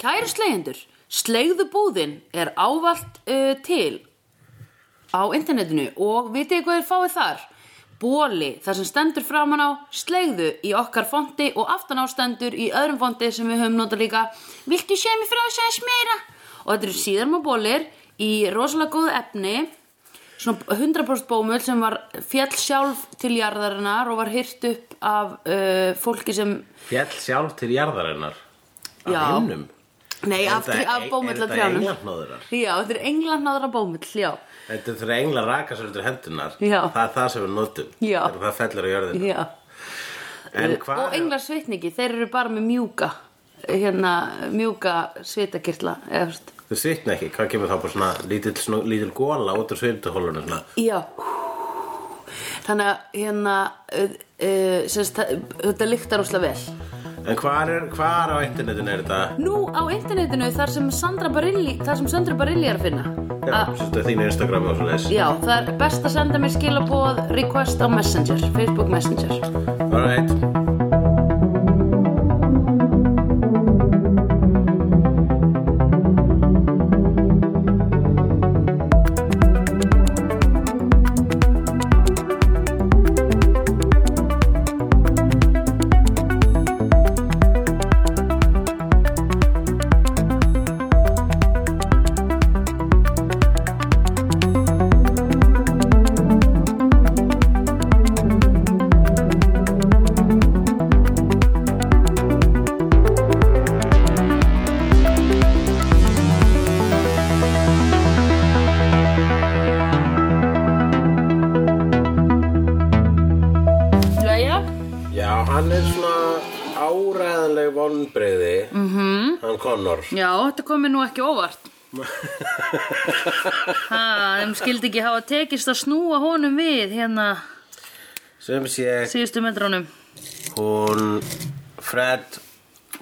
Kæru slegjendur, slegðu búðin er ávallt uh, til á internetinu og vitið þið hvað þið fáið þar? Bóli, þar sem stendur framan á, slegðu í okkar fondi og aftan á stendur í öðrum fondi sem við höfum notað líka Viltu sé mér frá þess aðeins meira? Og þetta eru síðarma bólir í rosalega góðu efni svona 100% bómull sem var fjall sjálf til jarðarinnar og var hyrt upp af uh, fólki sem Fjall sjálf til jarðarinnar Af Já. himnum Nei, Er af, þetta- trí- af er- bómullatrjánum. Er þetta englarnóðurar? Já, þetta er englarnáðra bómull, já. Þetta er þegar englar raka sér undir hendunar Já. Það er það sem við notum Já. Þegar það fellur á jörðina já. En hvað Og englarsveitningi, þeir eru bara með mjúka, hérna, mjúka svitakirla, eða veist. Þau svitna ekki, hvað kemur þá bara svona lítill, svona, lítill góla út úr svitahólunum svona Já. Þannig að, hérna, uh, uh, semst, það- þetta lyktar óslega vel. En hvar, er, hvar á internetinu er þetta? Nú á internetinu þar sem Sandra Barilli, þar sem Sandra Barilli er að finna. Já, Að- svolítið þín Instagram og svona þess Já, það er best að senda mér skilaboð request á Messenger, Facebook Messenger. Alright Jæja. Já, hann er svona áræðanleg vonbreyði Mhm. -hmm. Hann Connor Já, þetta komið nú ekki óvart. ha, þeim skildi ekki hafa tekist að snúa honum við hérna Sem sé síðustu metrónum. hún Fred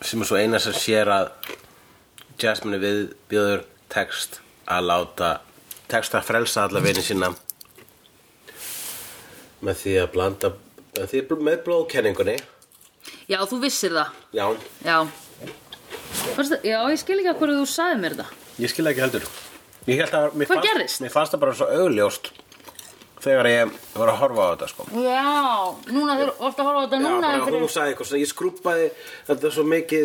sem er svo eina sem sér að Jasmine við bjóður text að láta text að frelsa alla vini sína með því að blanda með, því, með blóðkenningunni Já, þú vissir það. já, Já. Varstu, já, ég skil ekki að hverju þú sagði mér það. ég skilja ekki heldur ég held að mér Hvað fannst, gerðist? mér fannst það bara svo augljóst þegar ég var að horfa á þetta sko Já, núna þú vorst að horfa á þetta Já, núna. bara en hún fyrir- sagði eitthvað svona, ég skrúpaði þetta svo mikið,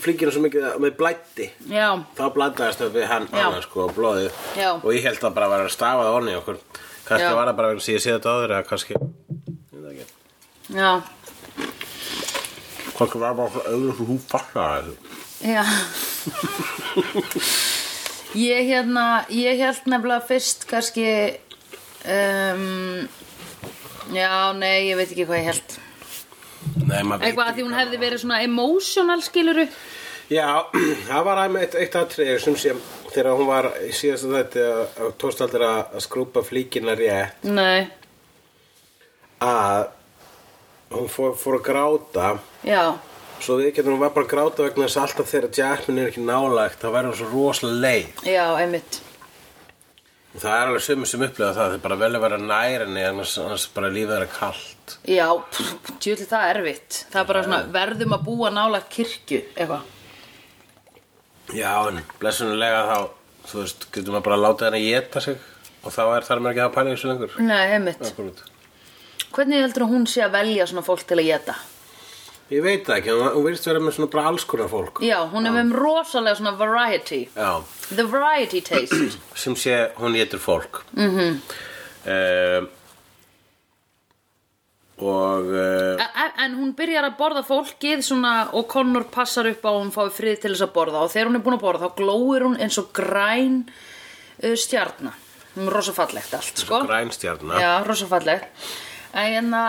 flingina svo mikið með blætti Já, þá blandaðist upp við hann Já. hana, sko, og blóðu Já. og ég held að bara var að stafa það onni í okkur kannski Já. var það bara vegna sem ég sé þetta áður eða kannski ég veit það ekki. já, kannski var bara auðvitað svo hún fattar það já. Ég hérna, ég held nefnilega fyrst kannski, um, já, nei, ég veit ekki hvað ég held. Nei, maður veit Eitthvað að því hún hefði verið svona emotional skiluru Já, það var einmitt eitt atriði sem sé þegar hún var í síðast þetta tókst aldrei að að skrúpa flíkina rétt Nei, að hún fór, fór að gráta já, svo við getum hún var bara að gráta vegna þess að alltaf þegar Jackman er ekki nálægt þá verður hún svo rosalega leið já, einmitt Og Það er alveg sömur sem upplifa það, þið bara vel að vera nær henni, annars, annars bara lífið er kallt. Já, tjúli það er erfitt Það er bara svona, verðum að búa nálægt kirkju Eitthvað Já, en blessunulega þá, þú veist, getur maður bara að láta henni að geta sig og þá er þar mér ekki að pæla í þessu lengur. Nei, einmitt Akkurat. Hvernig heldur hún sé að velja svona fólk til að geta? Ég veit það ekki, hún- hún virðist vera með svona bara alls konar fólk. Já, hún er með um rosalega svona variety Já, The variety taste sem sé, hún getur fólk. Mm -hmm. og... En Uh, E, en hún byrjar að borða fólkið svona og Connor passar upp á að hún fái frið til þess að borða og þegar hún er búin að borða þá glóir hún eins og græn uh, stjarna Hún er rosa fallegt allt, sko Grænstjarna Já, rosa falleg En hérna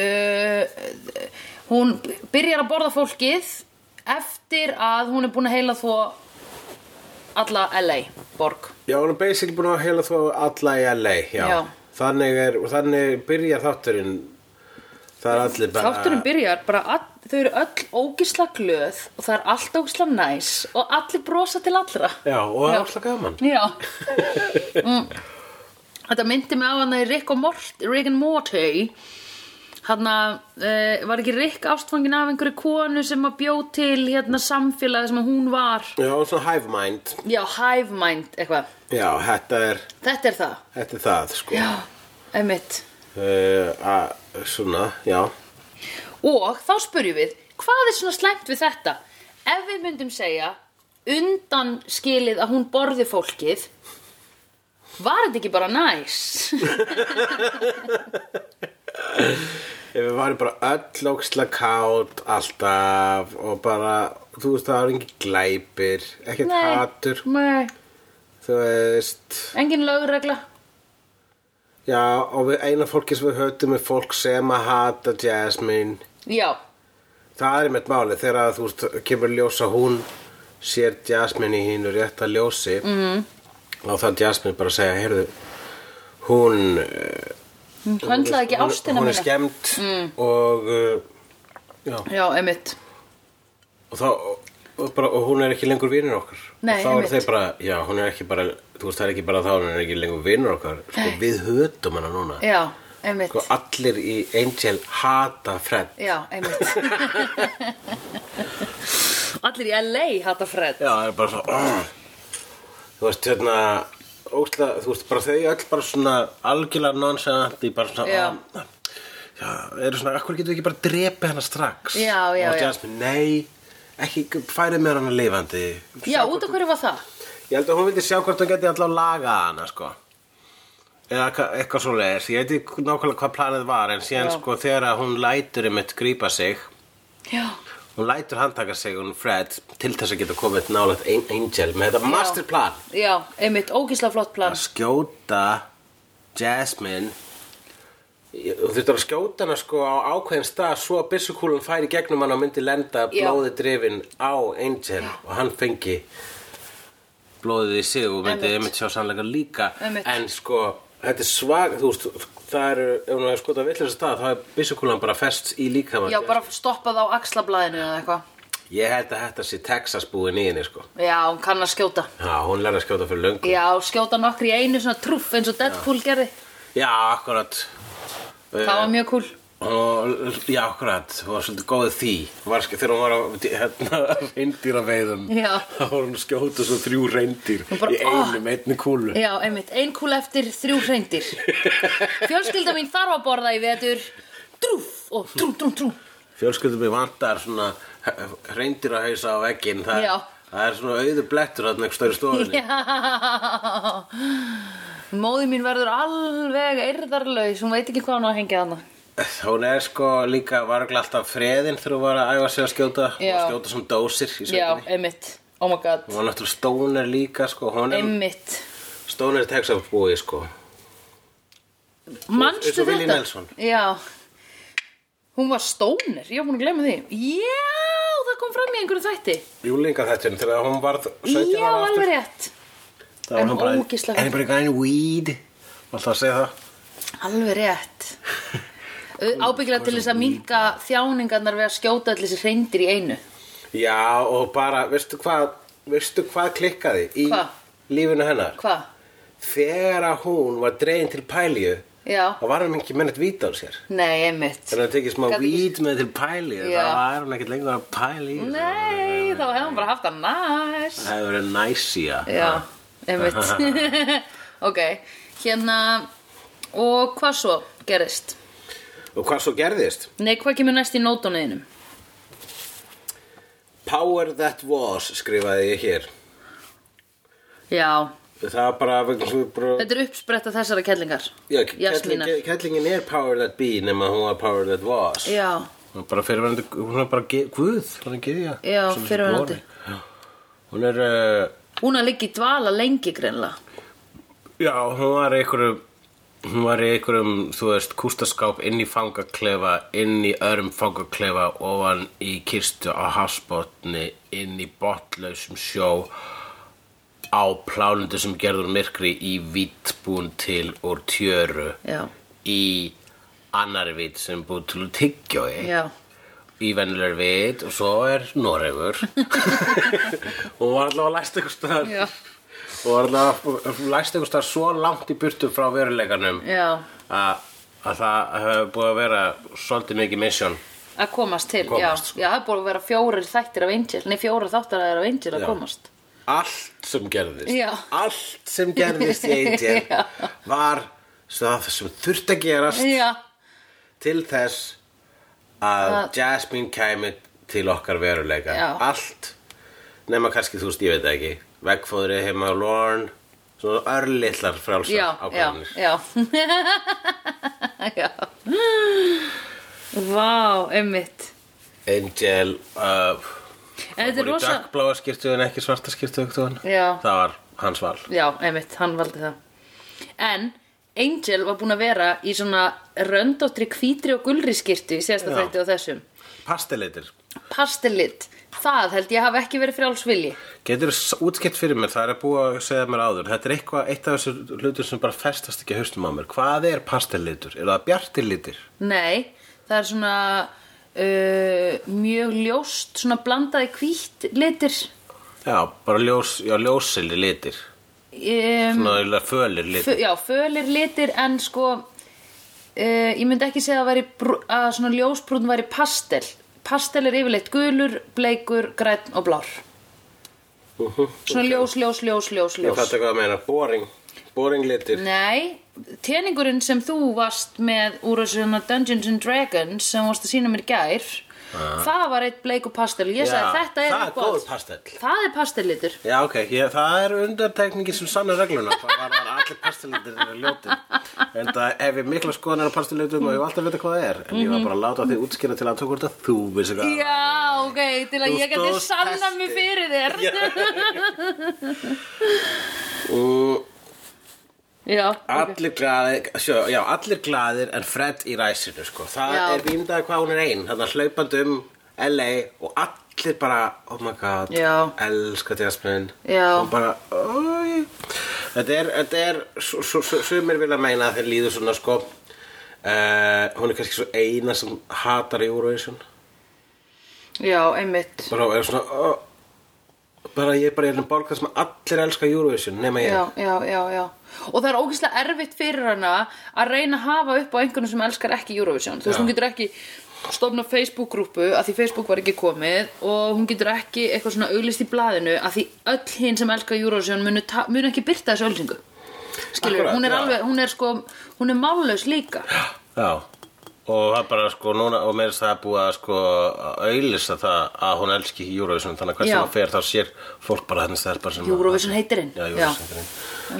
uh, Hún byrjar að borða fólkið Eftir að hún er búin að heila þó Alla LA borg Já, hún er basically búin að heila þú alla í LA, já. Já. Þannig er, og þannig byrjar þátturinn, það er allir bara... Þátturinn byrjar bara all, Þau eru öll ógisla glöð Og það er allt ógisla næs Og allir brosa til allra Já, og það Já. er alltaf gaman. Já mm. Þetta myndi mig á hana í Rick, og Mort, Rick and Morty Hanna, uh, var ekki Rick ástfangin af einhverju konu sem að bjó til hérna samfélagi sem að hún var Já, svona hive mind Já, hive mind, eitthvað Já, þetta er, Þetta er það þetta er það sko Já, einmitt uh, að, Svona, já Og þá spurjum við, hvað er svona slæmt við þetta? Ef við myndum segja undan skilið að hún borði fólkið Var þetta ekki bara næs? Ef við varum bara öll óksla kátt alltaf og bara, þú veist það er engin glæpir, ekkert hatur, nei, þú veist, engin lögregla já og við eina fólki sem við höfðum er fólk sem að hata Jasmine, Já, það er einmitt máli þegar að, þú veist, kemur ljósa hún sér Jasmine í hínu rétta ljósi Mhm. mm. og það Jasmine bara að segja, heyrðu, hún... eh, hún höndlaði ekki hún- ástina Hún er mína Mm. skemmt og, uh, já, Já, einmitt og þá og, bara, og hún er ekki lengur vinur okkar Nei, og þá eru einmitt. þeir bara, já, hún er ekki bara þú veist, það er ekki bara þá, hún er ekki lengur vinur okkar sko, Nei. við hötum hana núna Já, einmitt sko, allir í Angel hata Fred Já, einmitt Allir í LA hata Fred já, það er bara svo oh. þú veist, hérna ósla, þú veist, bara þau öll bara svona algjörlega nonsenant í bara svona Já. ah, já, eru svona, akkur getum við ekki bara að drepa hana strax Já, já, og já. Jasmine, nei, ekki færið mér hana lifandi Já, út af hverju var það? Ég held að hún vildi sjá hvort hún geti allavega lagað hana sko eða hva- eitthvað svo leiðis ég veit ekki nákvæmlega hvað planið var en síðan Já. sko þegar að hún lætur einmitt grípa sig Já, hún lætur handtaka sig hún Fred til þess að geta komið nálægt ein- Angel með þetta masterplan já, einmitt, ógísla flott plan að skjóta Jasmine Ég- þú þurftur að skjóta hana sko á ákveðin stað svo að byssukúlan færi gegnum hana og myndi lenda Já. blóði drifin á Angel og hann fengi blóðið í sig og myndi Einmitt. einmitt sjá sannleika líka Einmitt. en sko þetta er svag þú veist það eru ef hún hefur skotað villins stað þá er byssukúlan bara fest í líka Já, bara stoppað á axlablaðinu eða eitthvað ég held að þetta sé Texas búin í henni sko Já, hún kann að skjóta Já, hún lærði að skjóta fyrir löngu Já, skjóta nokkri í einu svona truff eins og Deadpool gerði Já, Eh. akkurat Það var mjög kúl Og, já, akkurat, hún var svolítið góð í því Hún var, ske- Þegar hún var á hérna, reyndýra veiðum Já. Þá var hún að skjóta svo þrjú reyndýr Hún bara, "Ah!" Í einum, einni kúlu Já, einmitt, ein kúl eftir þrjú hreindir Fjölskylda mín þarf að borða í vetur Drúf og trú, trú, trú Fjölskyldum við vantar svona reyndýra hausa á vegginn það, Já. það er svona auður blettur þarna ekki stöður stofinni Já Móði mín verður alveg eirðarlaus Hún veit ekki hvað hún á að hengja þarna Hún er sko líka varglega alltaf freðin þegar hún var að æfa sig að skjóta Já. og skjóta svona dósir í Já, sveitinni einmitt Oh my god Hún var náttúrulega stóner líka sko, hún er Einmitt stóner texafbúi sko Manstu eins og þetta? Willie Nelson. Já Hún var stónir, ég var búin að glemma því Já, það kom fram í einhverju þætti Júlinga þetta þegar hún varð 17 Já, ára aftur alveg rétt Það var En hann bara, ógeðslega- anybody got any weed? Og alltaf að segja það. Alveg rétt Ábyggilega til þess að minka þjáningarnar við að skjóta allir þessi hreindir í einu Já, og bara, veistu hvað, veistu hvað klikkaði í Hvað? lífinu hennar? Hvað? Þegar að hún var dregin til pælíu, Já þá var hann ekki mennett víta á sér. Nei, einmitt Þannig að hann tekið smá Gat ekki- weed með til pælíu, Já. þá var hann ekkert lengur að pæli. Nei, þá hefði hann bara haft það næs Það hefur verið næsía. Já, einmitt Ok, hérna Og hvað svo gerist? Og hvað svo gerðist? Nei, hvað kemur næst í nótónuðinum? Power that was, skrifaði ég hér. Já, Það var bara, vegna sem við bara... þetta er uppspretta þessara kellingar Já, Jasmínar. kellingin, kellingin er power that be nema hún var power that was. Já, Hún er bara fyrirverandi, hún er bara ge- guð, hún er gyðja. Já, Svona sem fyrrverandi. Móri. Já. Hún er, uh, hún að liggi dvala lengi greinlega já, hún var í einhverjum, hún var í einhverjum, þú veist, kústaskáp inn í fangaklefa, inn í öðrum fangaklefa, ofan í kistu á hafsbotni, inn í botlausum sjó, á plánundu sem gerður myrkri í vítbúin til úr tjöru, Já, í annar vít sem er búið til úr tyggjói. já, í vennilegur vit og svo er Noregur og var allavega læst einhver staðar Já. og var allavega læst einhver staðar svo langt í burtu frá veruleikanum já að að það hefur búið að vera svolítið mikið misjón að komast til, Komast, já, sko. já, það er búin að vera fjórir þættir af Angel, nei fjórir þáttaræðir af Angel að Já. komast allt sem gerðist Já. allt sem gerðist í Angel Já. var það sem þurfti að gerast já, til þess að Jasmine kæmi til okkar veruleika Já. allt nema kannski þú veist, ég veit það ekki vegfóðri heima á Lorne svona örlittlar já, frálsar já, ákvæðanir já já vá, einmitt Angel uh, En þetta er fór í rosa- dökkbláa skýrtu en ekki svarta skýrtu það Já. var hans val já, einmitt, hann valdi það en Angel var búin að vera í svona röndóttri hvítri og gulri skirtu í síðasta Já. þætti og þessum Pastelitir, pastellit, það held ég hafi ekki verið frjálsvilji getur útskipt fyrir mér það er búið að segja mér áður þetta er eitthvað, eitt af þessu hlutur sem bara festast ekki haustum á mér, hvað er pastelitur? er það bjartilitir? Nei, það er svona uh, mjög ljóst, svona blandaði hvít litir Já, bara ljós, já, ljósili litir um, svona eiginlega fölir litir fö, Já, fölir litir en sko uh, ég myndi ekki segja að, væri, brú- að svona ljósbrún væri pastel Pastel er yfirleitt gulur, bleikur, grænn og blár Svona ljós, ljós, ljós, ljós, Ég ljós fætti hvað að meina, boring Boring litir Nei, teningurinn sem þú varst með úr þessu svona Dungeons and Dragons sem varst að sína mér í gær það var eitt bleiku pastel ég sagði þetta er Það er uppáhalds- góður pastell Það er pastellitur. Já, ok, ég, það er undartekningin sem sannar regluna Það var var allir pastellitir eru ljótið En það hef ég mikla skoðanir á pastellitum og ég hef alltaf vita hvað það er En ég var bara að láta þig útskýra til að tók hvort að þú vissi hvað það var. Já, ok, til að Þú ég geti stóðst sanna festi. mig fyrir þér. Já, Og ok. Allir glaðir, sjö, já, allir glaðir en Fred í ræsinu, sko. Það Já. er víndaði hvað hún er einn, þannig að hlaupandi um LA og allir bara, oh my god, Já. elska Jasmine. Já. Og bara, oi. Þetta er, þetta er, s- s- s- sumir vilja meina að þeir líður svona, sko. Uh, hún er kannski svo eina sem hatar Eurovision. já, einmitt. Bara, er svona, oh, bara ég er bara einu bálkað sem allir elska Eurovision, nema ég. Já, já, já, já. Og það er ógeðslega erfitt fyrir hana að reyna að hafa upp á einhvern sem elskar ekki Eurovision. Þú veist, Já. hún getur ekki stofna Facebook-grúpu að því Facebook var ekki komið og hún getur ekki eitthvað svona auglist í blaðinu að því öll hinn sem elskar Eurovision munu, ta- munu ekki byrta þessu ölsingu. Skilur, Akkurat, hún er já. alveg, hún er sko, hún er mállaus líka. Já Og það er bara sko núna og meira þess að það er búið að sko að auðlýsa það að hún elski ekki Eurovision þannig að hvað Já. sem það fer þá sér fólk bara þannig stelpa sem að- Eurovision heitirinn. Já, Eurovision heitirinn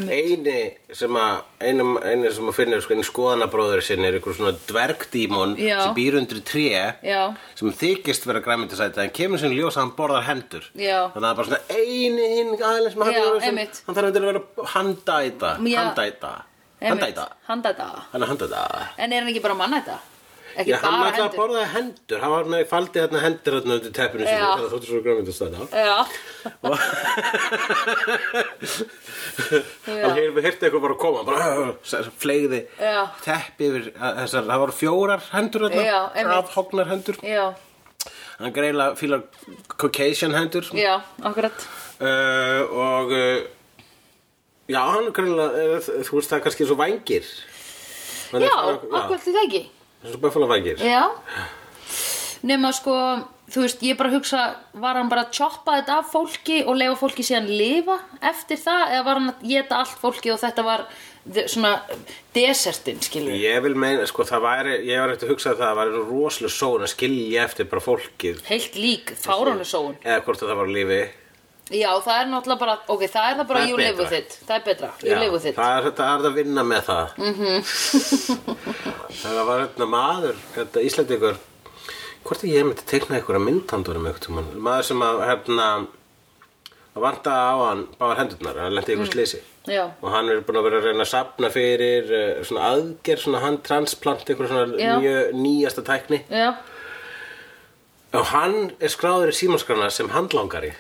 Eini sem að einu, einu sem að finnir sko einu skoðanabróður sinni er einhver svona dvergdímon Já. sem býr undir tré Já. sem þykist vera græmyndisæta en kemur sem ljósa að hann borðar hendur Já. þannig að það er bara svona eini hinn aðeins sem hann Já, Eurovision einmitt. hann þarf endilega að vera handæta Já. handæta handæta Handæta. hann er handæta En er hann ekki bara mannæta? Ekki Já, hann bara ætlaði að hendur? borða hendur, hann var með faldið hérna hendur hérna undir teppinu sinni, Já. þannig að þóttu svo græmyndastæða. Já, Hann heyrði heyrti eitthvað bara að koma, bara "Ugh", s- fleygði Já. teppi yfir að- þessar, það voru fjórar hendur Já, hérna, einmitt. afhognar hendur. já, Hann greiðlega fílar Caucasian hendur já, akkurat uh, og uh, já, hann greiðlega, þú veist það er kannski svo vængir. Hann er Já, svona- akkurat þetta ekki Svo bæfala vængir. Já Nefna sko, þú veist, ég bara hugsa Var hann bara að choppa þetta af fólki Og lega fólki síðan lifa eftir það Eða var hann að geta allt fólki Og þetta var þe- svona Desertin, skilur Ég vil meina, sko, það væri, ég var eftir að hugsa að það væri rosalega són að skilja eftir bara fólkið Heilt lík, fáránu sóun eða hvort að það var á lífi Já, það er náttúrulega bara, ok, það er það bara Það er You live betra. with it, það er betra You live with it það er þetta er að vinna með það mm -hmm. það var hérna maður hérna Íslandingur hvort er ég myndi teikna ykkur að myndandurum eitthvað maður sem að hérna að vanta á hann báðar hendurnar hann lendi ykkur slisi Já, og hann er búin að vera að reyna að sapna fyrir eh, svona aðgerð, svona hann transplant ykkur svona Já. njö, nýjasta tækni já og hann er skráður í símaskrana sem handlangari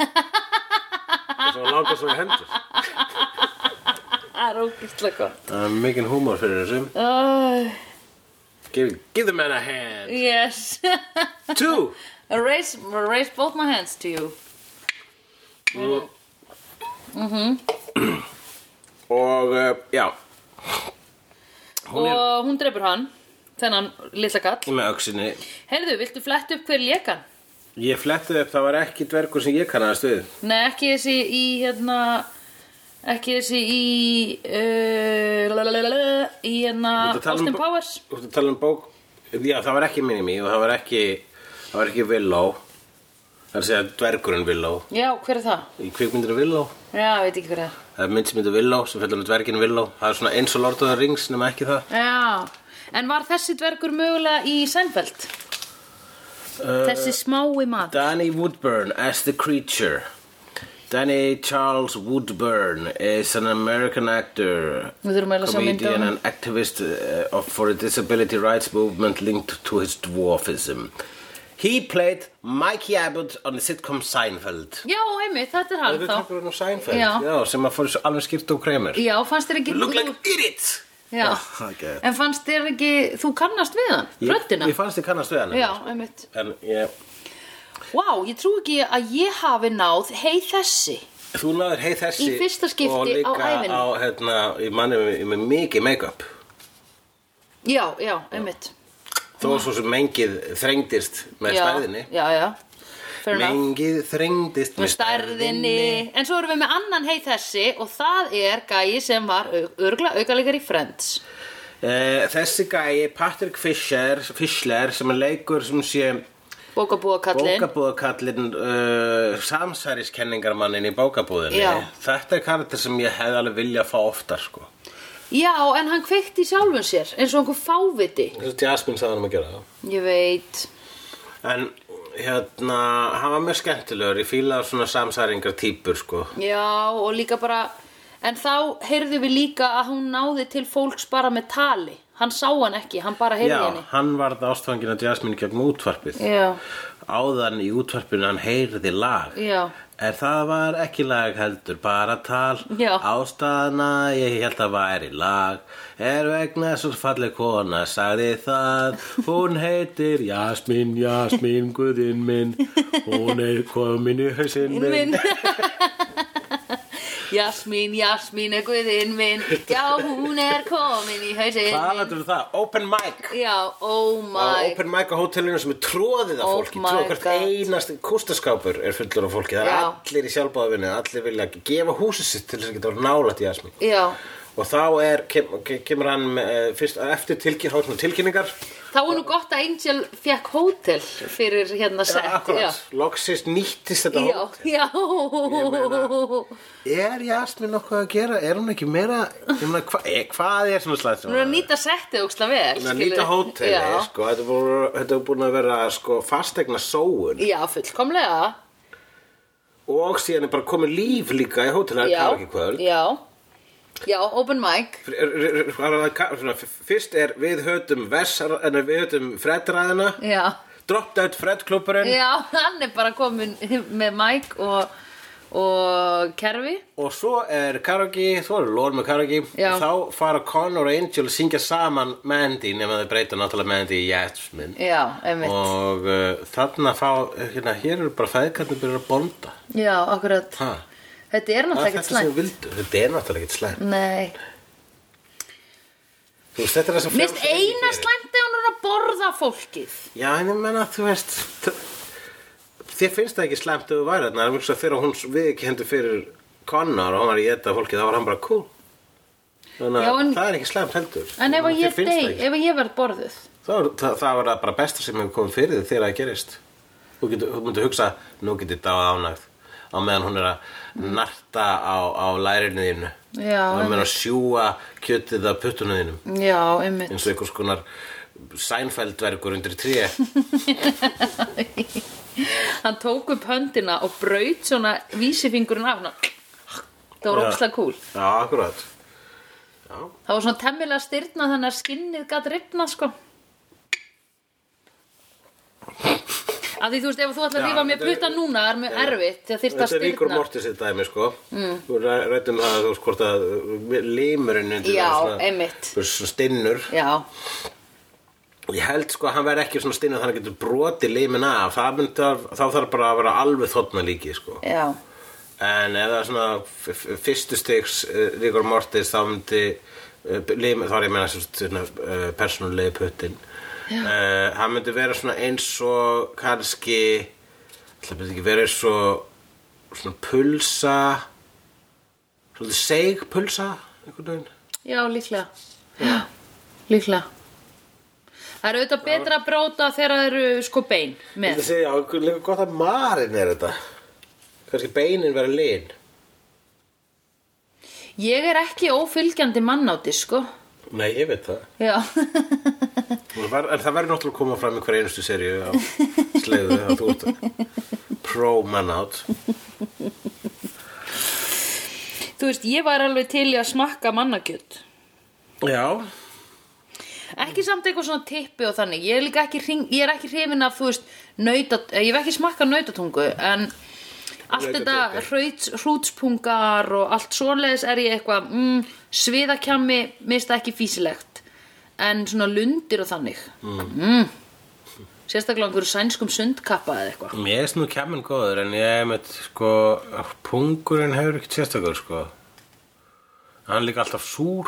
þess að hann langar svo í hendur Það er ógæstlega gott Það er mikinn húmor fyrir þessum Oh, give, give the man a hand yes. Two raise, raise both my hands to you. Mm-hmm. Og uh, já eh, Hún er- og hún drefur hann þennan litla kall með öksinni heyrðu, viltu flett upp hver lékan? Ég flettið upp, það var ekki dvergur sem ég kannaðast við Nei, ekki þessi í hérna ekki þessi í uh, lalalala, í hérna Þú ert að tala um Austin bó- Powers Þú ert að tala um bók Já, það var ekki Minimi og það var ekki það var ekki Willow Það er að segja dvergurinn Willow Já, hver er það? Í kvikmyndinu Willow Já, ég veit ekki hver er það Það er mynd sem heitir Willow sem fellur um dverginn Willow Það er svona eins og Lord of the Rings nema ekki það Já, en var þessi dvergur mögulega í Seinfeld? Eh, þessi smái maður Danny Woodburn as the creature Danny Charles Woodburn is an American actor Við þurfum eiginlega að sjá mynd af comedian honum. and activist uh, of, for the disability rights movement linked to his dwarfism. He played Mikey Abbott on the sitcom Seinfeld. Já, einmitt, þetta er hann Auðvitað þá tekur hann á Seinfeld, Já. já, sem að fór svo alveg skýrt og kremur. Já, fannst þér ekki Look like idiots! Ah, Já, það er geðveikt. en fannst þér ekki þú kannast við hann, Ég- röddina Ég fannst þið kannast við hann. Já, einmitt En ég, Vá, ég trú ekki að ég hafi náð hei þessi þú náður heið þessi Í fyrsta skipti og líka á ævinni. á, hérna, ég manni með, með mikið make-up. Já, já, einmitt Þó svo sem mengið þrengdist með já, stærðinni. Já, já, fair enough Mengið þrengdist Með stærðinni En svo erum við með annan hei þessi Og það er gæi sem var örgla aukalega í Friends Eh, þessi gæi, Patrick Fischer, Fischler, sem er leikur sem sé Bókabúakallin bókabúðakallin uh, samsæriskenningarmannin í bókabúðinni. Já. Þetta er karakter sem ég hefði alveg viljað fá oftar, sko. Já, en hann kveikti í sjálfum sér Eins og einhver fáviti Þessi Jasmine sagði hann um að gera það. Ég veit En hérna, hann var mjög skemmtilegur, ég fílaði svona samsæringar típur, sko. Já, og líka bara En þá heyrðum við líka að hún náði til fólks bara með tali Hann sá hann ekki, hann bara heyrði Já, henni hann varð ástfangin að Jasmine gegn útvarpið. Já, Áðan í útvarpinu hann heyrði lag. já En það var ekki lag heldur, bara tal Já. Ástæðana ég held að væri lag Er vegna svo falleg kona sagði það Hún heitir Jasmín, Jasmín, guðinn minn Hún er komin í hausinn minn minn Jasmín, Jasmín er guðinn minn Já, hún er komin í hausinn Hvað minn lætur það? Open mic Já, oh Á my Open mic á hótelinu sem er tróðið af Oh fólki my Tróð hvert God. einast kústaskápur er fullur af fólki Það er Já. allir í sjálfbáðvinni Allir vilja gefa húsið sitt til þess að geta nálætt Jasmín Já, Og þá er, kem, ke- kemur hann með, eh, fyrst eftir tilkyn, þá er svona tilkynningar. þá er nú gott að Angel fekk hótel fyrir hérna sett Akkurat, loksist nýttist þetta já, hót. já Er Jasmín nokkuð að gera? Er hún ekki meira, ég meina, hva, e, hvað er svona slætt? Hún er að nýta settið óksla vel Hún er að skilurðu. nýta hóteli, Já, sko, þetta er búin- þetta er búin að vera sko, fastegna sóun já fullkomlega og síðan er bara komið líf líka í hóteli, það er Já, ekki kvöld. já Já, open mic Fr- er- er- er- hvað er það ka- svona, f- Fyrst er við höfðum, vessar, en við höfðum fredræðina, Já, drop dead fredklúburinn já hann er bara komin með mic og, og kerfi Og svo er karaoke, svo er lór með karaoke Já. og Þá fara Connor og Angel að syngja saman Mandy nema þau breyta náttúrulega Mandy í Jasmine Já, einmitt Og uh, þarna fá, hérna, hér eru bara fæðkarnir byrjar að bonda Já, akkurat ha, Þetta er Það náttúrulega er þetta ekkert sem slæmt við vildu, þetta er náttúrulega ekkert slæmt Nei Þú veist, þetta er það sem Mist frjálsar fólki eina gerir. slæmt er hún er að borða fólkið Já, en ég menna, þú veist þ- Þér finnst það ekki slæmt ef þú væri þarna Það er mjög svo þegar hún viðkendi fyrir Connor og hann var í þetta fólki, þá var hann bara cool Þannig Já, að en- það er ekki slæmt heldur En ef að Þér ég finnst það dey, ekki ef að ég verð borðuð Það, það, það var það bara besta sem hefur komið fyrir þig þegar það gerist. Þú getur, þú myndir hugsa, nú getur dáð ánægð á meðan hún er að narta á, á lærinu þínu. Já, Á meðan að sjúa kjötið af puttunum þínum. Já, einmitt Eins og einhvers konar sænfældverkur undir tré. Hann tók upp höndina og braut svona vísifingurinn af hann Það var Já. ókslega kúl Já, akkurat. Já, Það var svona temmilega styrna þannig að skinnið gat rifna sko Af því þú veist, ef þú ætlar að Já, rífa mér þetta er- putta núna er mjög erfitt, það þyrft að Þetta er ríkur styrna mortis í dæmi, sko. Mm. Þú rættum það, þú veist, hvort að uh, limurinn undir Já, það svona- einmitt. Svona stinnur. Já, Ég held sko að hann verði ekki svona stinu þannig að hann getur broti limin af það myndi að, þá þarf bara að vera alveg þotna líki sko. já eh, en ef það er svona f- f- fyrstu stiks uh, Rigor Mortis þá myndi uh, lim, þá er ég að meina sem sagt, svona, uh, persónulegi puttin uh, hann myndi vera svona eins og kannski það myndi ekki vera eins og svona pulsa svona seig pulsa einhvern veginn Já, líklega. Já, líklega. Það er auðvitað betra að bróta þegar það eru sko bein Ég með. ætla að segja, já, líka gott að marinn er þetta kannski beinin vera lin Ég er ekki ófylgjandi mannáti, sko. nei, ég veit það Já. Það var- En það verður náttúrulega að koma fram í hverju einustu serju á sleiðu að þú ert pro man out Þú veist, ég var alveg til í að smakka mannakjöld. Já, Ekki samt eitthvað svona tippi og þannig. Ég er líka ekki, hring, ég er ekki hrifin af, þú veist, nautat, ég hef ekki smakkað nautatungu, en allt þetta Nautatunga. hraut, hrútspungar og allt svoleiðis er ég eitthvað, mm, sviðakjami, mista ekki físilegt. En svona lundir og þannig. Mm. Sérstaklega á einhverju sænskum sundkappa eða eitthvað. mér er snú kemmin góður en ég er með sko pungurinn hefur ekkert sérstakur sko Hann er líka alltaf súr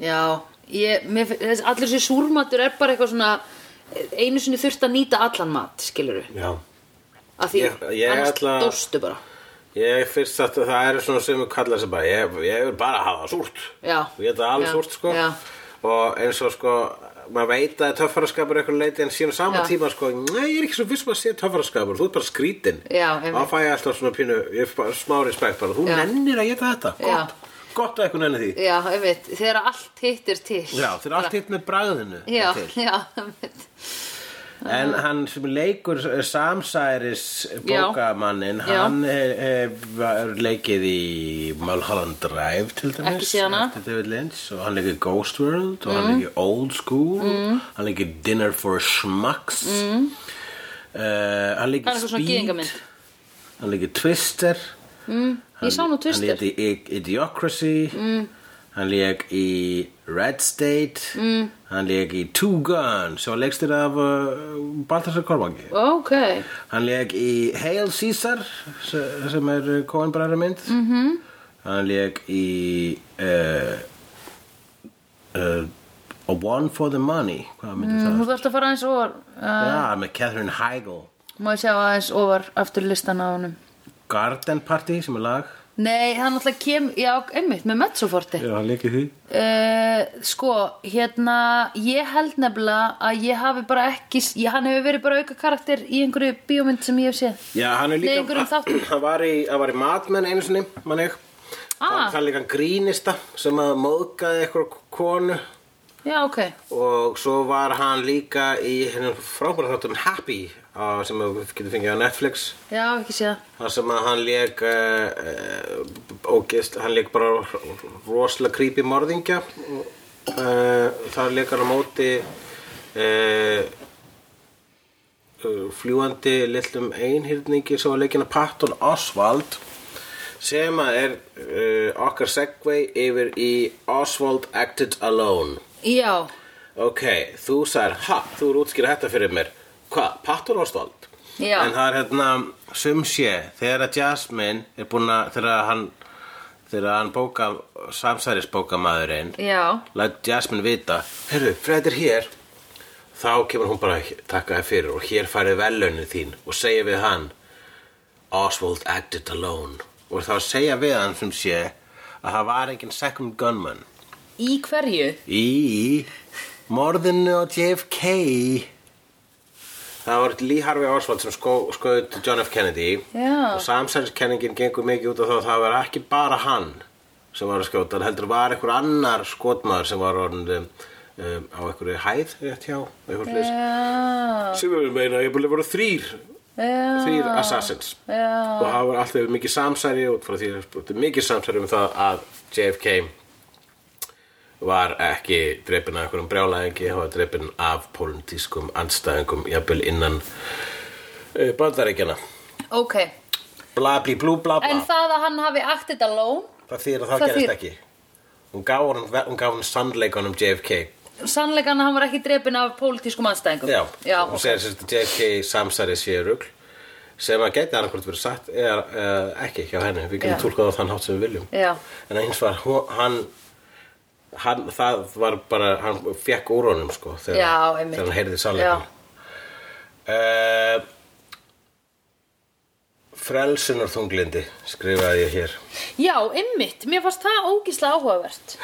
Já, ég, mér, finn- þess, allir þessi súrmatur er bara eitthvað svona eh, einu sinni þurft að nýta allan mat, skilur við Já af því Ég- ég annars ætla- dóstu bara Ég fyrst að það eru svona sem við kallar sem bara ég, ég vil bara hafa það súrt Já. Ég þetta alveg Já. súrt sko Já. Og eins og sko maður veit að töffaraskapur er eitthvað leiti en síðan á sama Já. tíma sko Nei, ég er ekki svo viss maður að sé töffaraskapur þú ert bara skrítin Já, einmitt. Þá fæ ég alltaf svona pínu, ég fæ bara smá respekt bara Þú Já. nennir að geta þetta, gott Gott að eitthvað nenni því Já, ég veit, þegar allt hittir til Já, þeir eru allt hitt með bragðinu Já, til. já, ég veit En hann sem leikur eh, samsæris bókamanninn, Já. hann hefur leikið í Mulholland Drive til dæmis. Ekki séð hana. Mm. Eftir David Lynch og hann leikir Ghost World og hann leikir Old School, hann leikir Dinner for Schmucks, mm. hann Það er leikir eitthvað svona Speed, gyðingamynd. hann leikir Twister, mm. Ég sá nú Twister. Hann leikir í Idiocracy, mm. hann leik í Red State, mm. hann leik í Two Gun, sem var leikstir af uh, Baltasar Kormangi. Ok, Hann leik í Hail Caesar se- sem er uh, Coen bræðra mynd -hmm. Hann leik í uh, uh, A One for the Money Hvað myndi það? nú þarfst Mm, að fara aðeins ofar uh, Já, með Catherine Heigl Má ég sjá aðeins ofar aftur listan á honum Garden Party sem er lag Nei, hann alltaf kem, já, einmitt, með mezzoforti Já, hann leik í því Uh, sko, hérna ég held nefnilega að ég hafi bara ekki, ég, hann hefur verið bara auka karakter í einhverju bíómynd sem ég hef séð Já, hann er Nei, líka einhverjum þáttum. Hann var í, hann var í matmenn einu sinni, mann ég Ah. Hann hann líka grínista sem að móðgaði eitthvað konu Já, ok, og svo var hann líka í hennum frábæra þáttum Happy á, sem að við getum fengið á Netflix já, hef ekki séð það. þar sem að hann leik uh, og gist, hann leik bara rosalega creepy morðingja uh, þar leik hann á móti uh, fljúandi lillum einhyrningi sem var leikina Patton Oswald sem að er uh, okkar segway yfir í Oswald Acted Alone Já, Ok, þú sagðir, ha, þú eru útskýra þetta fyrir mér. Hvað, Patton Oswald? Já. En það er hérna, sum sé, þegar að Jasmine er búin að, þegar hann, þegar hann bóka, samsærisbókamaðurinn, já, læt Jasmine vita, heyrðu, Fred er hér. Þá kemur hún bara að takka þér fyrir og hér færið velunin þín og segja við hann, Oswald acted alone. Og þá segja við hann sem sé að það var engin second gunman í hverju? í morðinu á JFK Það var Lee Harvey Oswald sem sko, skoði John F. Kennedy Já. og samsæðiskenningin gengur mikið út af það að það var ekki bara hann sem var að skjóta, en heldur var einhver annar skotmaður sem var orðin um, á einhverju hæð rétt hjá einhver flis Já, sem við meina, ég búin að voru þrýr já, þrýr assassins já, og það var alltaf mikið samsæri út frá því að mikið samsæri um það að JFK var ekki dreipin af einhverjum brjálæðingi hann var dreipin af pólitískum andstæðingum jafnvel innan uh, bandaríkjana ok. bla bli blú bla bla En það að hann hafi acted alone, það þýr að það, það gerist þýðir- ekki hún gaf honum, hún gaf honum sannleikunum JFK sannleikann að hann var ekki drepin af pólitískum anstæðingum. já, já, hún ok. segir sem sagt að JFK samsæri sé rugl sem að geti annarkvæmt verið satt eða uh, ekki hjá henni, við Já. getum túlkað á þann hátt sem við viljum Já, en hins var hó- hann hann, það var bara, hann fekk úr honum sko, þegar, Já, einmitt. þegar hann heyrði Já. sannleikann. Uh, frelsunar þunglindi, skrifaði ég hér. Já, ymmit, mér fannst það ógíslega áhugavert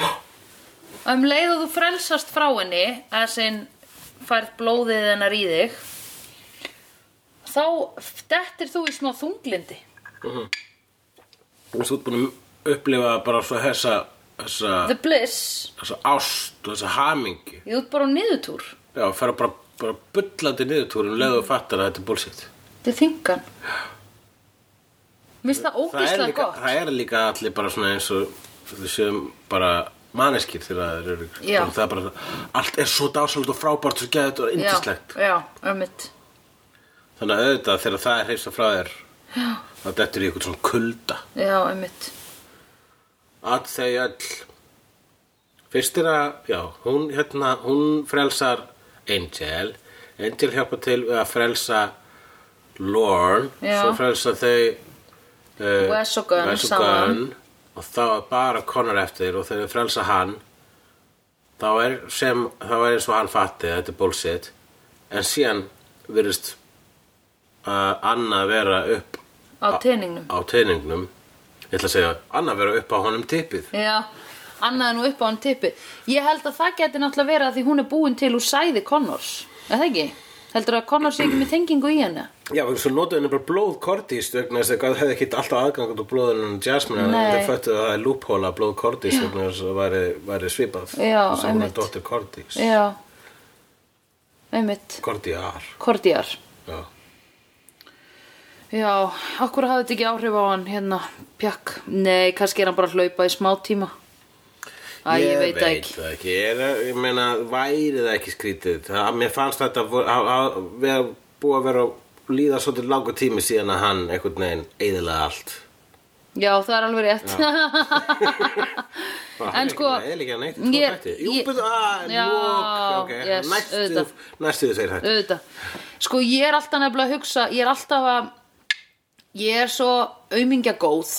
Um leið og þú frelsast frá henni að sinn færð blóðið hennar í þig þá dettir þú í smá þunglindi Þú ert búin að upplifa bara svo þessa, þessa, The bliss, þessa ást og þessa hamingi. ég út bara á niðurtúr Já, fara bara, bara bullandi niðurtúrum leðu og fattar að þetta er bullshit. Þið þingan Mér finnst það Það er, ógíslega líka, gott það er líka allir bara svona eins og þau séum bara manneskir þegar þeir eru Já. það er bara, allt er svo dásalegt og frábært svo geðut og indislegt Já, já ömmit þannig að auðvitað þegar það er heilsa frá þér Já. þá dettur í eitthvað svona kulda Já, ömmit að þau öll fyrst er að, já, hún hérna, hún frelsar Angel Angel hjálpa til við að frelsa Lorne Já. svo frelsa þau uh, Wes og Gunn Wes og saman. Gunn og þá er bara Connor eftir og þegar þau frelsa hann þá er sem þá er eins og hann fatti að þetta er bullshit en síðan virðist uh, Anna vera upp Á teiningnum á teiningnum ég ætla að segja, Anna vera upp á honum tippið Já, annað en nú upp á hann tippi Ég held að það geti náttúrulega verið að því hún er búin til úr sæði Connors Er það ekki? Heldur að Connors sé ekki með tengingu í henni? Já, og svo notuðu henni bara blóð Cordís vegna þess að það hefði ekki alltaf aðgangat úr blóðinu en Jasmine en Nei. það föttuðu að það er lúphóla blóð Cordís vegna þess að væri, væri svipað Já, þess að hún er einmitt. dóttir Cordís Já Einmitt Cordiar Kordiar Já, Já, okkur hafði þetta ekki áhrif á hann hérna, pjakk Nei, kannski er hann bara að hlaupa í smá tíma Æ, ég, veit það ekki það ekki. Ég, er, ég meina, væri það ekki skrítið það, Mér fannst þetta vo- að- að vera búið að vera að líða svolítið langur tími síðan að hann einhvern veginn eðilega allt Já, það er alveg rétt Bara, En Ah, hann er sko, ekki, eðilega neitt, ég- ég, ég, Jú, ah, ég- betur, að, Já, lók okay. yes, Næstuðu, auðvitað. næstuðu segir hætt Auðvitað Sko, ég er alltaf nefnilega að hugsa Ég er alltaf að Ég er svo aumingja góð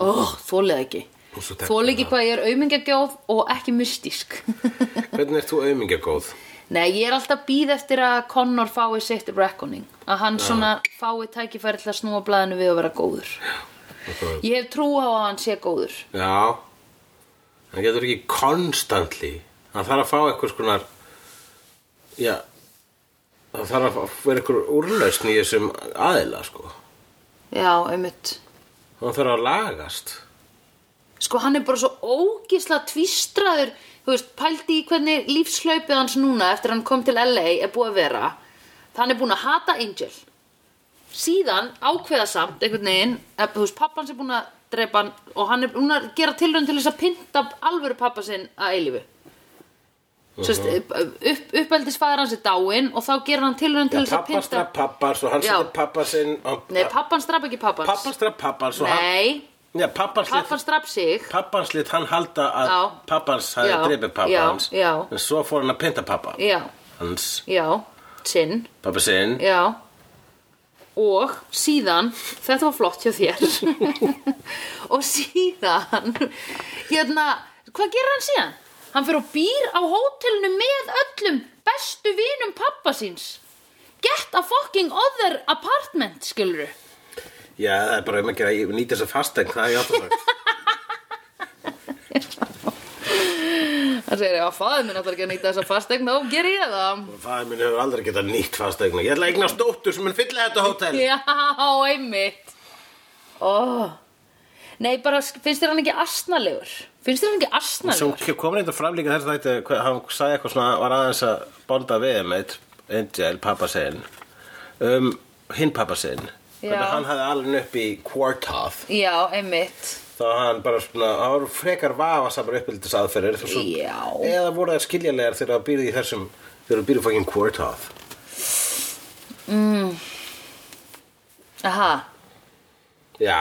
Ó, þólið ekki Og svo tekur Þólið ekki það. hvað ég er aumingja góð og ekki mystísk Hvernig ert þú aumingagóð? Nei, ég er alltaf býð eftir að Connor fái sitt reckoning að hann svona fái tækifæri til að snúa blaðinu við að vera góður Akkurat. Ég hef trú á að hann sé góður Já Hann getur ekki konstantli Hann þarf að fá eitthvað skonar Já Það þarf að fá- vera eitthvað úrlausn í þessum aðila sko Já, einmitt Hann þarf að lagast Sko, hann er bara svo ógisla tvístraður Þú veist, pældi í hvernig lífslaupið hans núna eftir að hann kom til LA er búið að vera Hann er búin að hata Angel Síðan ákveða samt einhvern veginn eh, Þú veist, pappans er búin að drepa hann og hann er búin að gera tilraun til þess að pynta alvöru pappa sinn að eilífu Sest, upp, uppeldisfæðar hans er dáinn og þá gerir hann tilraun til Já, þess að pappa pynta straf pappars og hann Já. setur pappars inn Nei, pappan straf ekki pappans Pappa straf pappars og hann Nei, Já, pappars pappan lit straf sig Pappans lit hann halda að Já. pappans Já. hafi dreipið Já, pappans já. En svo fór hann að pynta pappa Já, Hans já, sinn pappa sinn Já Og síðan, þetta var flott hjá þér Og síðan Hérna, hvað gerir hann síðan? Hann fyrir og býr á hótelinu með öllum bestu vinum pappa síns Get a fucking other apartment, skilur Já, það er bara um að gera Ég nýti þess að fastegn Það er ég átt að sagt Það segir ég, að faðið minn ætlar ekki að nýta þessa fastegna og ger ég það Fæði Sko, minn hefur aldrei getað nýtt fastegna Ég ætla að eignast dóttur sem mun fylla þetta hótel Já, einmitt Ó Nei, bara finnst þér hann ekki asnalegur? Finnst þér hann ekki Svo asnalegur? kom reynda fram líka þess að þetta hvað- Hann sagði eitthvað svona Var aðeins að bonda við með Angel, pappasinn Um, hinn pappasinn Já. Hvernig hann hafði alveg upp í Quartoth Já, einmitt Þá hann bara svona Það voru frekar vafasamar uppbyldis aðferðir þó svo- Já. Eða voru það skiljanlegar þegar það býrði í þessum Þegar það býrði fækinn Quartoth Aha, Já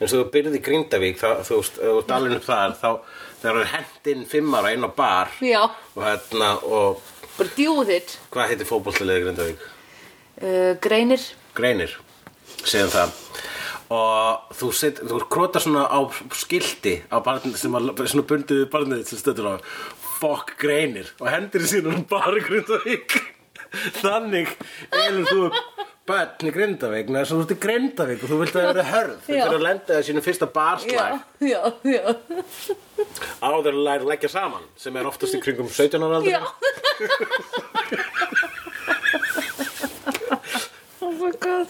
eins og þú byrði í Grindavík þá, þú veist, ef þú dalin upp þar þá þegar þú er hendinn fimm ára inn á bar Já. og hérna og bara djúðið hvað heitir fótboltaliðið Grindavík? uh, Greinir Greinir, segjum það og þú, set, þú krotar svona á skilti á barnið sem að, svona bundið við barnið þitt sem stöður á fokk greinir og hendur sínum bara grindavík þannig elur þú börn í grindavík neða þú ert í grindavík og þú vilt að vera hörð þú Já. fyrir að lenda það sínum fyrsta barslag já, já, já, áður en læra að leggja saman sem er oftast í kringum 17 ára aldrei já. oh my god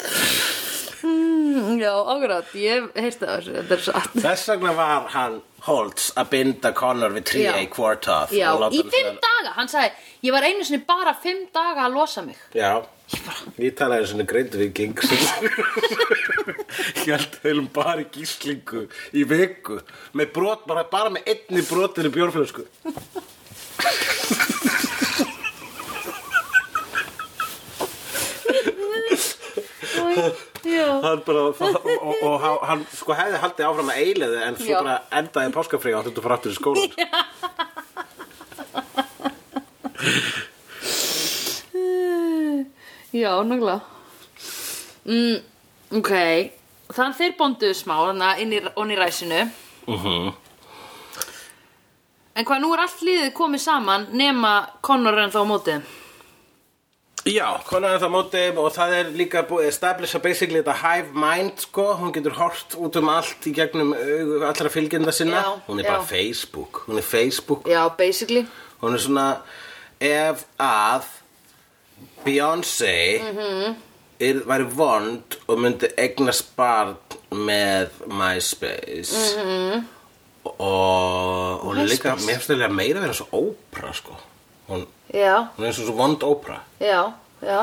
mm, já, ágrætt, ég hef heyrt það þessu, þetta er satt Þess vegna var hann Holtz að binda Connor við 3A Já. Quartoff já, í fimm daga, hann sagði ég var einu sinni bara fimm daga að losa mig Já, ég talaði svona grindviking Ég held að heilum bara í gíslingu í viku með brot, bara, bara með einni brotinni bjórflösku já, hann bara, það, og, og, og hann sko hefði haldið áfram að eilaði en svo Já. bara endaði páskafrí og hann þurfti að fara aftur í skólan já, nögglega mm, ok þannig þeir bonduðu smá þannig að inn í, onni í ræsinu Mhm. en hvað, nú er allt liðið komið saman nema Connor en þá á mótið Já, konan er það mótið og það er líka búið að establisha basically þetta hive mind sko, hún getur hort út um allt í gegnum augu allra fylgjenda sinna Já, hún er já. bara Facebook, hún er Facebook Já, basically hún er svona ef að Beyoncé mm væri vond og myndi eignast barn með MySpace og hún er líka, mér finnst það meira að vera svo ópra sko, hún, Já, hún er eins og svo vond ópra já, já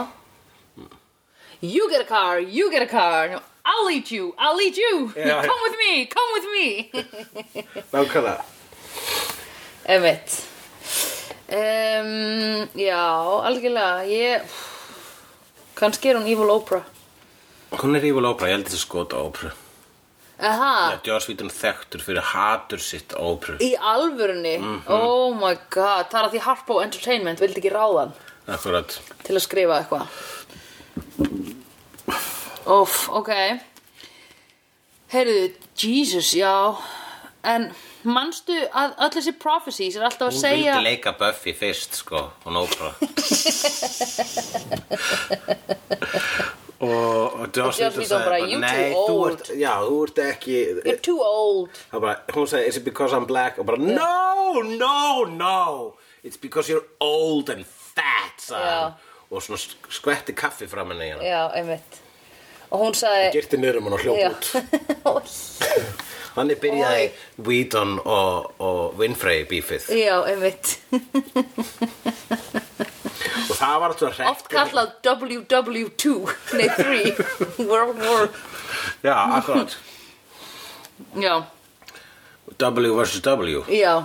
You get a car, you get a car I'll lead you, I'll lead you Já, já. Come with me, come with me Nákvæmlega Emmett um, Já, algjörlega Ég Kannski er hún Evil Oprah Hún er Evil Oprah, ég held þessi skota Oprah Aha, ah. Joss Whedon þekktur fyrir hatur sitt á Oprah í alvörunni Oh my god, það er að því Harpo Entertainment vildi ekki ráðan Akkurat til að skrifa eitthvað Óf, ok Heyrðu, Jesus, já En manstu að öll þessi prophecies er alltaf að Hún segja vildi leika Buffy fyrst, sko, hún Oprah Og, og Joss Joss Whedon Whedon bara, sagði "You Nei, too þú old." ert, já, þú ert ekki You're too old Það bara, hún sagði, is it because I'm black? Og bara, no, no, no It's because you're old and fat, sagði Já. hann Og svona sk- skvetti kaffi fram henni í hana Já, einmitt Og hún sagði Girti niður um hann og hljóp Já. út Ó, Þannig byrjaði Whedon og, og Winfrey bífið Já, einmitt og það var alltaf hrekk Oft kallað WW2 Nei, 3 World War um- Já, akkurat Já, W vs. W já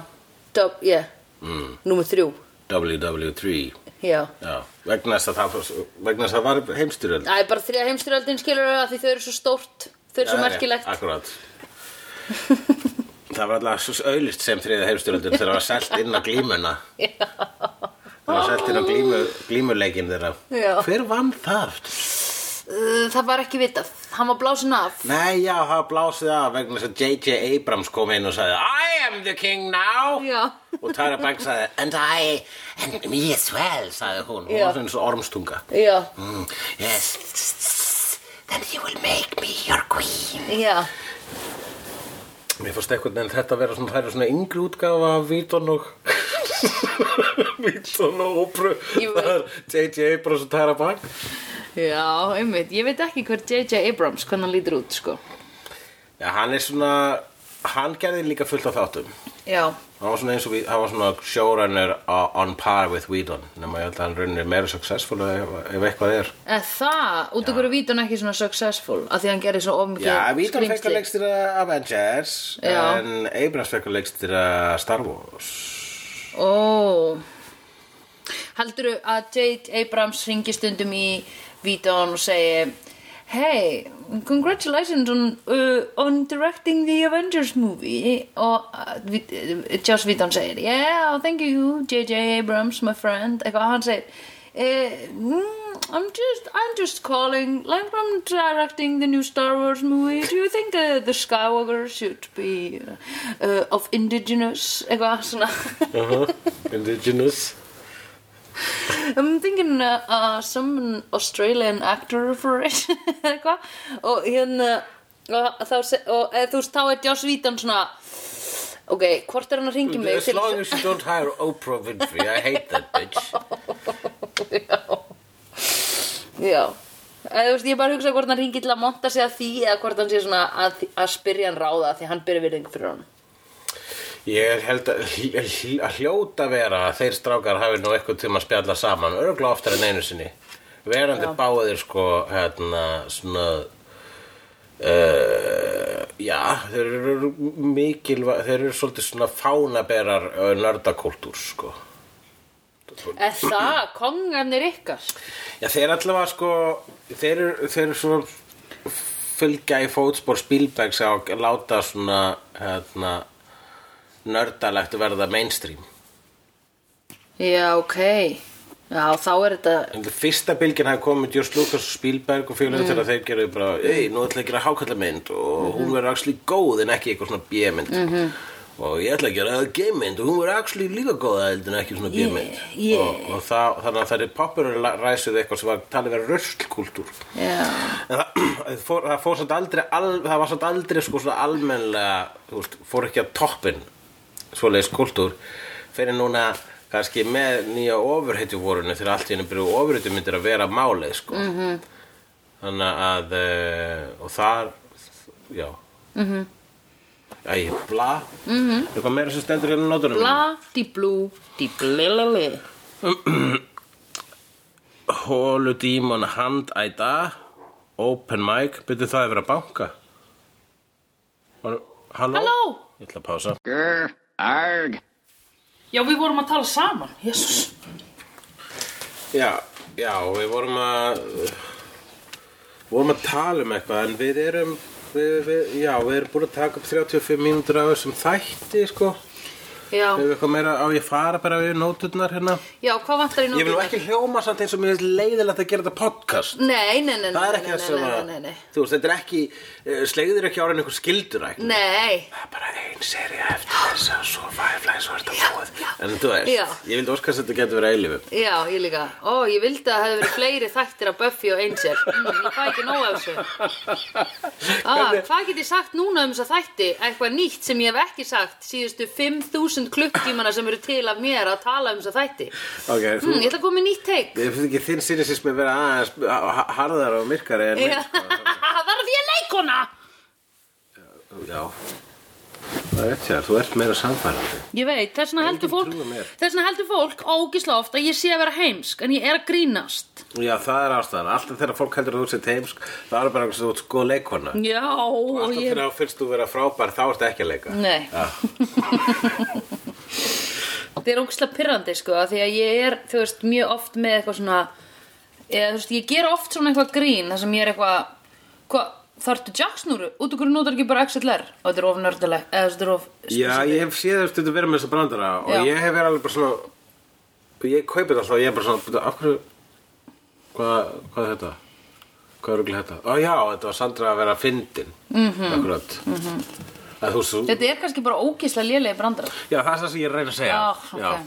Dub, yeah mm. Númer 3 WW3 Já Já, vegna þess að það, vegna þess að það var heimstyröld Það er bara þriða heimstyröldin skilur að því þau eru svo stórt Þau eru svo merkilegt Akkurat Það var alltaf svo auðlist sem þriðið heimstyröldin þegar það var selt inn á glímuna Já Það var selt inn á glímu, glímuleikin þeirra Já. Hver vann það? Uh, Það var ekki vitað, hann var blásin af Nei, já, það var blásið af vegna þess að J.J. Abrams kom inn og sagði I am the king now Já. Og Tara Banks sagði And I, and me as well, sagði hún Hún Já. var svona eins og ormstunga Já, mm, Yes, then you will make me your queen já, Mér fórst eitthvað en þetta vera svona, það eru svona yngri útgáfa af Víton og Víton og Ópru Ég Það er J.J. Abrams og Tara Banks já, einmitt Ég veit ekki hver J.J. Abrams, hvernig hann lítur út, sko Já, hann er svona, hann gerði líka fullt af þáttum Já, Hann var svona eins og við, hann var svona showrunner á- on par with Whedon nema ég held að hann runni meira successful ef, ef eitthvað er en það, út okkur er Vítun ekki svona successful af því hann gerir svona ofmikið Já, Whedon fekk að skrýmsli. leikstýra Avengers Já. en Abrams fekk að leikstýra Star Wars Ó Heldurðu að J.J. Abrams ringi stundum í Vítun og segi Hey, congratulations on, uh, on directing the Avengers movie og uh, Vi- uh, Joss Vítun segir Yeah, thank you, J.J. Abrams, my friend eitthvað hann segir eh, mm, I'm just, I'm just calling, like I'm directing the new Star Wars movie. Do you think uh, the Skywalker should be uh, uh, of indigenous, eitthvað svona? Uh -huh. Indigenous I'm thinking uh, uh, some Australian actor for it, eitthvað. Og hérna, og, þá, se- og eða, þú veist, þá er Joss Vítan svona, ok, hvort er hann að ringi mig? As long as you don't hire Oprah Winfrey I hate that bitch Já Eða, þú veist, ég bara hugsa hvort hann ringi til að monta sig að því eða hvort hann sé svona að, að spyrja hann ráða því hann byrja virðing fyrir hann Ég held að, að hljóta vera að þeir strákar hafi nú eitthvað tíma að spjalla saman örgla oftar en einu sinni verandi báðir sko hérna svona uh, já þeir eru mikilva þeir eru svolítið svona fánaberar uh, nördakúltúr sko Eða það, kongarnir ykkar Já, þeir allavega sko þeir eru, þeir eru svona fylgja í fótspor Spielbergs á að láta svona hérna, nördalegt verða mainstream Já, ok Já, þá er þetta En það fyrsta bylgin hafi komið George Lucas og Spielberg og félagum Mm. þegar þeir gerðu bara Ei, nú ætla ég að gera hákallamynd og Mhm. hún verður axli góð en ekki eitthvað svona B-mynd og ég ætla að gera G-mynd og hún verður axli líka góð en ekki svona B-mynd yeah. og, og það, þannig að það er popularæsuð eitthvað sem var talið vera rösklkultúr Já, En það, það fór, það fór samt aldrei al, það var samt aldrei sko svona almennlega þú veist, fór ekki að toppin svoleiðis kultúr fyrir núna kannski með nýja ofurheitjuvorunni þegar allt í henni byrju ofurheitjumyndir að vera málið sko -hmm. þannig að eh, og þar já mm -hmm. Æ, bla mm -hmm. eitthvað meira sem stendur hérna á nótunum bla, di blú, di blilili Hólu dímon handæta Open mic Byrðu það að vera banka Var, Halló? Halló? Ég ætla að pása Grr, arg. Já, við vorum að tala saman, jésus Já, já, við vorum að vorum að tala um eitthvað en við erum við, við, já, við erum búin að taka upp 35 mínútur af þessum þætti sko Já, Hefur eitthvað meira á ég fara bara við nóturnar hérna já, hvað vantar í Ég vil nú nótuna? ekki hljóma samt eins og mér finnst leiðilegt að gera þetta podcast Nei, nei, nei, nei, Það er nei, ekki nei, það sem nei, að, nei, nei, þú veist, þetta er ekki, eh, slegður ekki ára en einhver skildurækni. nei Nei, Það er bara ein serið eftir þess að svo Firefly svo er þetta búið. En þú veist, Já. ég vildi óskast að þetta getur verið eilifum. Já, ég líka. Ó, ég vildi að það hefði verið fleiri þættir af Buffy og Angel. Mm, ég fæ ekki nóg af þessu. Ah, hvað get ég sagt núna um þessa þætti? Eitthvað nýtt sem ég hef ekki sagt síðustu 5.000 klukktímana sem eru til af mér að tala um þessa þætti. Ok, þú, Mm, ég ætla að koma með nýtt teik. ég finnst ekki þinn sinnesism að vera aðeins ha- harðar og myrkari en minn. um. Verð ég leikona? Já, það er rétt hér, þú ert meira samfærandi. Ég veit, þess vegna heldur fólk, trúir mér. þess vegna heldur fólk ógisla oft að ég sé að vera heimsk, en ég er að grínast. Já, það er ástæðan. Alltaf þegar fólk heldur að þú sér teimsk, það er bara einhvers þú ert góð leikona. Já, Mm, og Alltaf ég... þegar þú finnst þú vera frábær, þá ertu ekki að leika. Nei Já. Það er ógislega pirrandi sko af Því að ég er, þú veist, mjög oft með eitthvað svona eða, þú veist, Ég ger oft svona eitthvað grín þar sem ég er eitthvað hva, Þarftu jacksnúru? Út okkur notar ekki bara XLR Og þetta er of nördaleg Eða þú veist, þetta er of Já, ég hef séð þess að vera með þessa brandara og Sko, Já. ég hef verið alveg bara svona ég kaupi þetta alltaf og ég er bara svona "Bíddu, af hverju, hvað, hvað er þetta? Hvað er ruglega þetta? Ó já, þetta var Sandra að vera fyndin -hmm. akkurat mm -hmm. að, þú, svo, Þetta er kannski bara ógislega lélegi brandar Já, það er það sem ég er að reyna að segja Já, ok.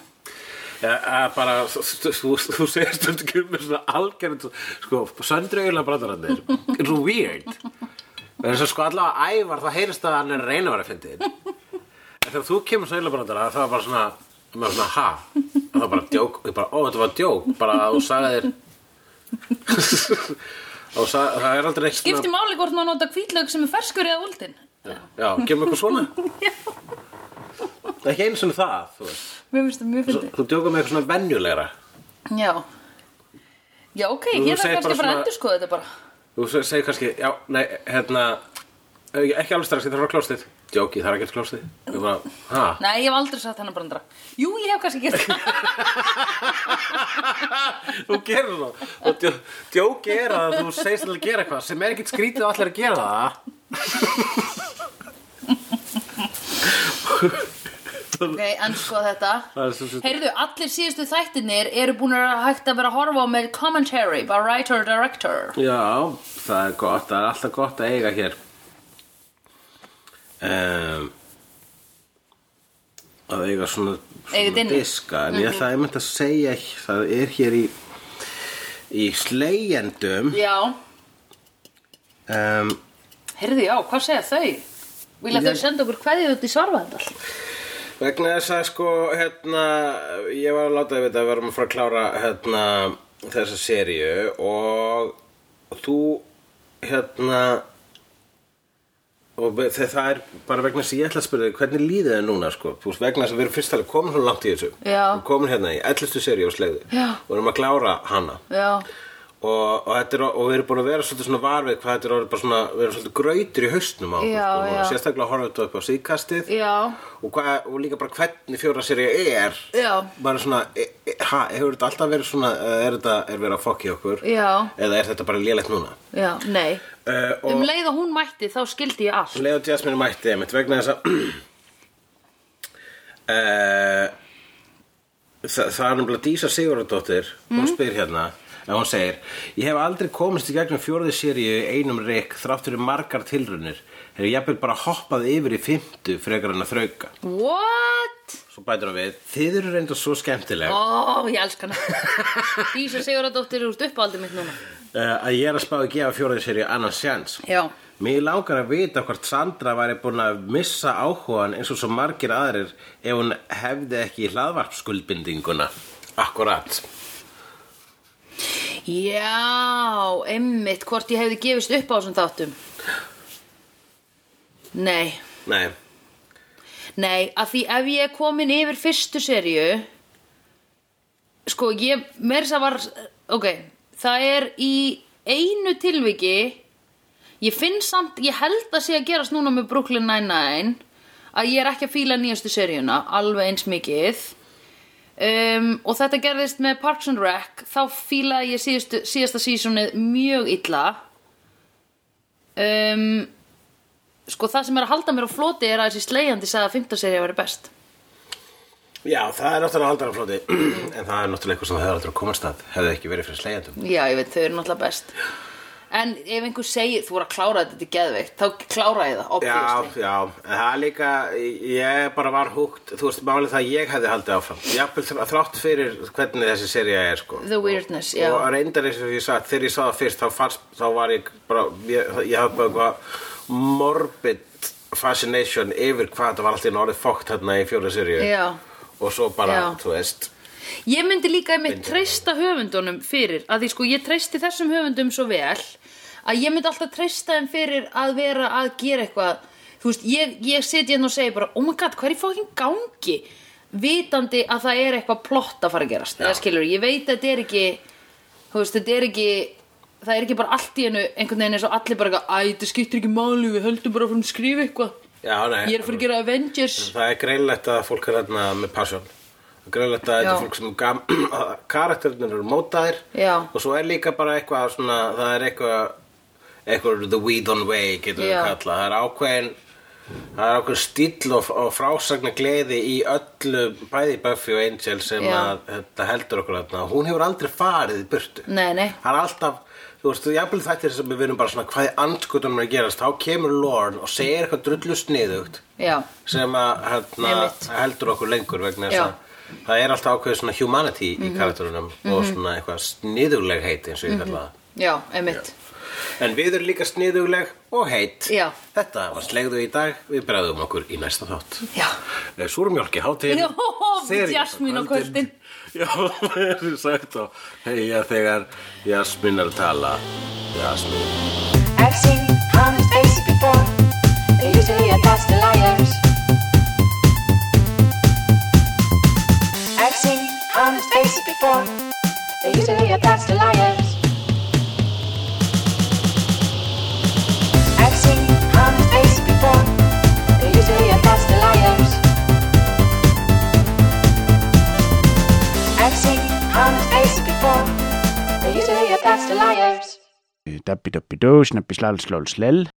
Já, að bara, þú, þú, þú- þú segir stundum ekki með svona algjörn sko, söndri eiginlega brandararnir er svo weird en þess að sko allavega ævar þá heyrist að hann er að reyna að vera fyndið en þegar þú kemur svo eiginlega brandara það var bara svona, maður svona ha en það var bara djók, ég bara, ó þetta var djók bara að þú sagði þér og sa, það er aldrei neitt svona- Skipti máli hvort maður nota hvítlaug sem er ferskur eða úldin Já, kemur eitthvað svona Það er ekki einu svona það, þú veist Mér finnst það mjög Svo- fyndi Þú djókar með eitthvað svona venjulegra Já Já, ok, ég Þú þarf segir kannski bara að bara svona- endur skoða þetta bara Þú se- segir kannski, já, nei, hérna eh, Ekki alveg strax, ég þarf að klóstið Djóki, það er ekkert klóstið Ég bara, ha, Nei, ég hef aldrei sagt hennar brandara Jú, ég hef kannski gert það þú gerir það Og djó, djóki er að þú segist alveg að gera eitthvað Sem er ekkert skrítið og allir að gera það Alltaf- Ok, en sko þetta Það er sem sagt- Heyrðu, allir síðustu þættinir eru búin að hægt að vera að horfa á með commentary by writer or director Já, það er gott, það er alltaf gott að eiga hér um, að eiga svona, Eigið svona inni. diska Mhm. en ég ætla einmitt að segja það er hér í í slegjendum Já, um, heyrðu, já, hvað segja þau? Vilja Ég- þau senda okkur kveðið út í svarfaðandal? vegna þess að sko hérna, ég var að láta að vita að við erum að fara að klára hérna, þessa seríu og þú hérna og be- þe- það er bara vegna þess að ég ætla að spyrja þig hvernig líðið þið núna sko Þú veist, vegna þess að við erum fyrst að komin svona langt í þessu við Já. erum komin hérna í 11. seríu og slegðu Já. og erum að klára hana Já, og, og, þetta er, og við erum búin að vera svolítið svona varfið hvað þetta er orðið bara svona, við erum svolítið gröytur í haustnum á okkur, Já, sko, og já. sérstaklega horfum þetta upp á síðkastið Já. og, hva, og líka bara hvernig fjóra serið er Já. bara svona, e, e, ha, hefur þetta alltaf verið svona eða er þetta, er verið að fokki okkur Já. eða er þetta bara lélegt núna já, nei uh, Um og leið og hún mætti þá skildi ég allt Leo Jasmine mætti einmitt vegna þess að uh, það, það er náttúrulega Dísa Sigurðardóttir hún Mm. spyr hérna en hún segir ég hef aldrei komist í gegnum fjórði seríu í einum reik þrátt fyrir margar tilrunir hef jafnvel bara hoppað yfir í fymtu frekar en að þrauka What? svo bætir hann við þið eru reynda svo skemmtileg Ó, ég elska hana Dísa Siguradóttir úr uppáldið mitt núna uh, að ég er að spá að gefa fjórði seríu annan sjans Já, Mér langar að vita hvort Sandra væri búin að missa áhugan eins og svo margir aðrir ef hún hefði ekki hlaðvarpskuldbindinguna. Akkurat. Já, einmitt, hvort ég hefði gefist upp á þessum þáttum. Nei, Nei, nei, að því ef ég er komin yfir fyrstu serju, sko, ég, mér þess að var, ok, það er í einu tilviki, ég finn samt, ég held að sé að gerast núna með Brooklyn Nine-Nine, að ég er ekki að fíla nýjastu seríuna, alveg eins mikið. Um, og þetta gerðist með Parks and Rec þá fílaði ég síðustu, síðasta sísonið mjög illa um, sko það sem er að halda mér á floti er að þessi slegjandi sagði að fimmtaserja væri best já, það er náttúrulega aldrei að flóti, en það er náttúrulega eitthvað sem hefði aldrei að komast að, hefði ekki verið fyrir slegjandum. já ég veit þau eru náttúrulega best en ef einhver segir þú voru að klára þetta þetta er geðveikt þá klára ég það Já, obviously. já, en það er líka, ég bara var húgt, þú veist, málið það að ég hefði haldið áfram. Jafnvel þr- þrátt fyrir hvernig þessi seria er, sko. The weirdness, já. Og reyndar eins og ég sagði, þegar ég sá það fyrst, þá, fannst, þá var ég bara, ég, ég hafði bara eitthvað morbid fascination yfir hvað þetta var alltaf í orðið fókt hérna í fjóra serju. Já. Og svo bara, Já. þú veist, Ég myndi líka einmitt treysta höfundunum fyrir að því sko ég treysti þessum höfundum svo vel að ég myndi alltaf treysta þeim fyrir að vera að gera eitthvað þú veist, ég, ég sitja hérna og segi bara oh my god, hvað er í fókin gangi vitandi að það er eitthvað plott að fara að gerast eða skilur, ég veit að þetta er ekki þú veist, þetta er ekki það er ekki bara allt í hennu einhvern veginn eins og allir bara eitthvað, æ, þetta skiptir ekki máli við höldum bara frá að skrifa eitthvað já, nei. ég er að fara að gera Avengers Það er greinlegt að fólk er þarna með passion Það er greinlegt að þetta Já. er fólk sem gam, að karakterinir eru mótaðir Já. og svo er líka bara eitthvað svona, það er eitthvað eitthvað the weed on way getum við Já. kallað það er ákveðin það er ákveðin stíll og, og frásagna gleði í öllu bæði Buffy og Angel sem Já. að þetta heldur okkur þarna hún hefur aldrei farið í burtu Nei, nei. það er alltaf Þú veist, jafnvel þættir sem við vinnum bara svona hvað er andskotunum að gerast, þá kemur Lorne og segir eitthvað drullu sniðugt já, sem að hérna, Einmitt. heldur okkur lengur vegna þess Já. Mhm. að það er alltaf ákveðið svona humanity í karakterunum og svona eitthvað sniðugleg heit eins og ég kalla það já, einmitt en við erum líka sniðugleg og heit Mhm. Já. þetta var slegðu í dag við bregðum okkur í næsta þátt Eh, já. Nei, Súrmjólki hátíð Já, Jasmín á kvöldin. Já, það er sagt á Heiða þegar Jasmín er að tala Jasmín I've seen honest faces before. They're usually a pass to liars. I've seen honest faces before. They're usually a pass to liars. I've seen honest faces before. They're usually a pass to liars. I've seen honest faces before. They're usually a pass to liars. Dabbi dabbi dó, snabbi slal slól slell.